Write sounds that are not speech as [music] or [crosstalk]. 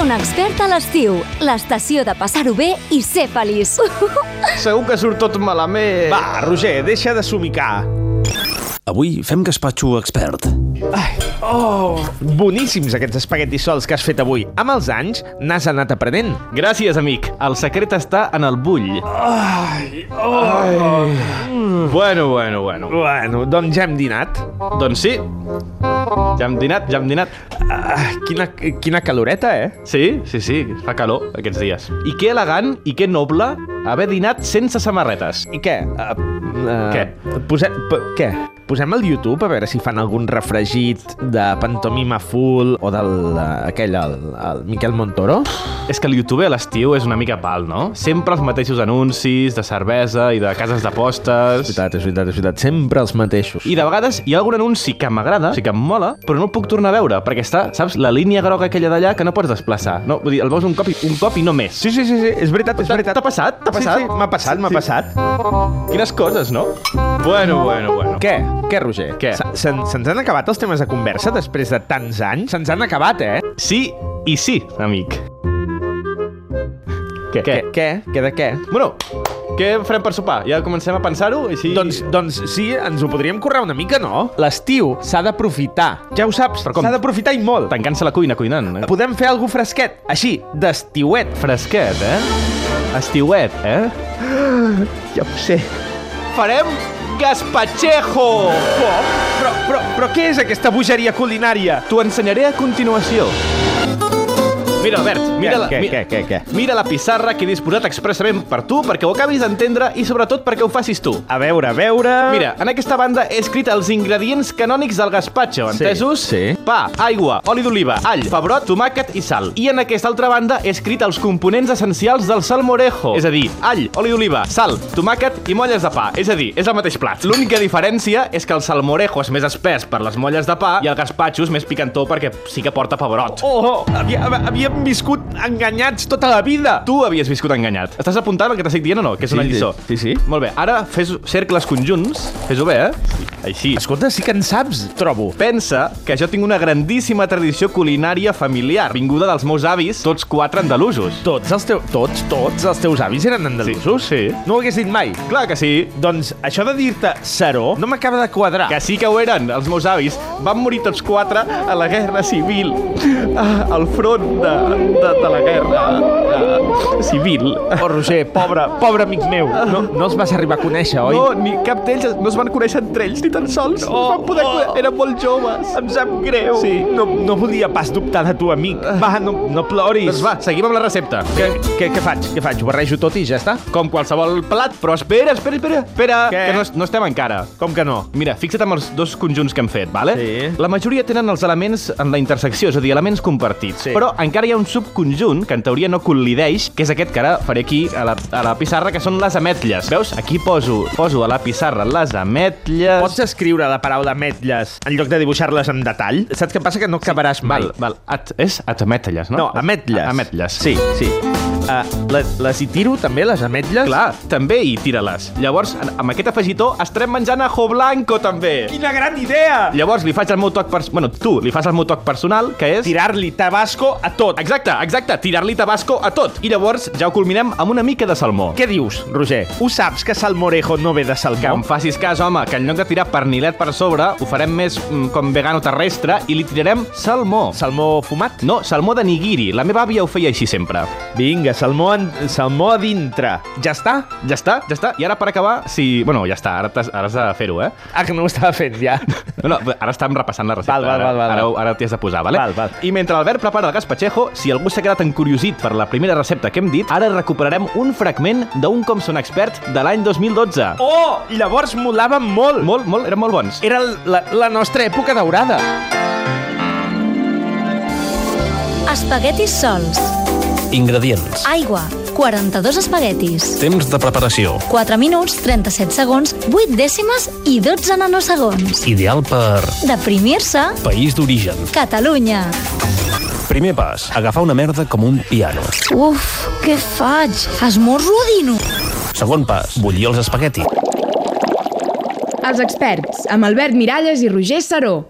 un expert a l'estiu. L'estació de passar-ho bé i ser feliç. Segur que surt tot malament. Va, Roger, deixa de somicar. Avui fem gaspatxo expert. Ai, oh, boníssims aquests espaguetis sols que has fet avui. Amb els anys n'has anat aprenent. Gràcies, amic. El secret està en el bull. Ai, oh. Ai. Bueno, bueno, bueno. Bueno, doncs ja hem dinat. Doncs sí. Ja hem dinat, ja hem dinat. Ah, quina, quina caloreta, eh? Sí, sí, sí, fa calor aquests dies. I que elegant i que noble haver dinat sense samarretes. I què? Uh, uh, Què? Pose, po, què? Posem al YouTube a veure si fan algun refregit de Pantomima Full o del, eh, aquell, el, el Miquel Montoro? És que el youtuber a l'estiu és una mica pal, no? Sempre els mateixos anuncis de cervesa i de cases És d'apostes. veritat, és veritat, és veritat. Sempre els mateixos. I de vegades hi ha algun anunci que m'agrada, o sigui, que em mola, però no el puc tornar a veure, perquè està, saps, la línia groga aquella d'allà que no pots desplaçar. No, vull dir, el veus un cop i, un cop i no més. Sí, sí, sí, sí, és veritat, és T'ha- veritat. t'ha passat? T'ha passat? Sí, sí, m'ha passat, m'ha Sí. passat. Quines coses, no? Bueno, bueno, bueno. Què? Què, Roger? Què? Se- Se'n se'ns han acabat els temes de conversa després de tants anys? Se'ns han acabat, eh? Sí i sí, amic. Què? Què? Què? Què de què? Bueno, què farem per sopar? Ja comencem a pensar-ho? Així... Doncs, doncs sí, ens ho podríem currar una mica, no? L'estiu s'ha d'aprofitar. Ja ho saps, Però com? s'ha d'aprofitar i molt. Tancant-se la cuina cuinant. eh? Podem fer alguna fresquet, així, d'estiuet. Fresquet, eh? Estiuet, eh? Ja ho sé. Farem gazpachejo! Com? Però, però, però què és aquesta bogeria culinària? T'ho ensenyaré a continuació. Mira, Albert, mira, Què, la, què, mi- què, què, què? mira la pissarra que he disposat expressament per tu, perquè ho acabis d'entendre i sobretot perquè ho facis tu. A veure, a veure... Mira, en aquesta banda he escrit els ingredients canònics del gazpacho, Sí, entesos? sí. Pa, aigua, oli d'oliva, all, pebrot, tomàquet i sal. I en aquesta altra banda he escrit els components essencials del salmorejo. És a dir, all, oli d'oliva, sal, tomàquet i molles de pa. És a dir, és el mateix plat. L'única diferència és que el salmorejo és més espès per les molles de pa i el gazpacho és més picantó perquè sí que porta pebrot. Oh, oh havia, havíem viscut enganyats tota la vida. Tu havies viscut enganyat. Estàs apuntant el que t'estic dient o no? Que és Sí, una sí. lliçó. Sí, sí. Molt bé, ara fes cercles conjunts. Fes-ho bé, eh? Així. Escolta, sí que en saps, trobo. Pensa que jo tinc una grandíssima tradició culinària familiar, vinguda dels meus avis, tots quatre andalusos. Tots els teus... Tots, tots els teus avis eren andalusos? Sí, sí. No ho hagués dit mai. Clar que sí. Doncs això de dir-te Saró no m'acaba de quadrar. Que sí que ho eren, els meus avis. Van morir tots quatre a la guerra civil. Ah, Al front de, de, de la guerra ah, civil. Oh, Roger, pobre, pobre amic meu. No, no els vas arribar a conèixer, oi? No, ni cap d'ells, no es van conèixer entre ells ni tan sols. No, van poder, oh. Eren molt joves. Em sap greu. Sí. No, no volia pas dubtar de tu, amic. Va, no, no ploris. Doncs va, seguim amb la recepta. Què, què, què faig? Què faig? Ho barrejo tot i ja està? Com qualsevol plat, però espera, espera, espera, espera, Què? que no, no estem encara. Com que no? Mira, fixa't amb els dos conjunts que hem fet, vale? Sí. La majoria tenen els elements en la intersecció, és a dir, elements compartits. Sí. Però encara hi ha un subconjunt que en teoria no col·lideix, que és aquest que ara faré aquí a la, a la pissarra, que són les ametlles. Veus? Aquí poso, poso a la pissarra les ametlles... Pots escriure la paraula ametlles en lloc de dibuixar-les en detall? Saps què passa? Que no acabaràs mai. Val, val. At, és at ametlles, no? No, ametlles. A- ametlles. Sí, sí. Uh, les, les hi tiro també, les ametlles? Clar, també hi tira-les. Llavors, en- amb aquest afegitó, estarem menjant ajo blanco, també. Quina gran idea! Llavors, li faig el meu toc... Pers... Bueno, tu li fas el meu toc personal, que és... Tirar-li tabasco a tot. Exacte, exacte, tirar-li tabasco a tot. I llavors ja ho culminem amb una mica de salmó. Què dius, Roger? Ho saps que salmorejo no ve de Que em salmó? facis cas, home, que en lloc de tirar pernilet per sobre, ho farem més mm, com vegano terrestre i li tirarem salmó. Salmó fumat? No, salmó de nigiri. La meva àvia ho feia així sempre. Vinga, salmó, en... salmó a dintre. Ja està? Ja està, ja està. I ara per acabar, si... Bueno, ja està, ara, t'has- ara has de fer-ho, eh? Ah, que no ho estava fent ja. No, no, ara estàvem repassant la recepta. Val, val, ara- val, val, Ara, val. ara t'hi has de posar, vale? Val, val. I mentre l'Albert prepara el gazpachejo, si algú s'ha quedat encuriosit per la primera recepta que hem dit, ara recuperarem un fragment d'un Com són expert de l'any 2012. Oh, llavors molava molt. Molt, molt, eren molt bons. Era la, la nostra època daurada. [laughs] Espaguetis sols. Ingredients. Aigua. 42 espaguetis. Temps de preparació. 4 minuts, 37 segons, 8 dècimes i 12 nanosegons. Ideal per Deprimir-se. país d'origen. Catalunya. Primer pas, agafar una merda com un piano. Uf, què faig? Esmorzo o dino? Segon pas, bullir els espaguetis. Els experts, amb Albert Miralles i Roger Saró.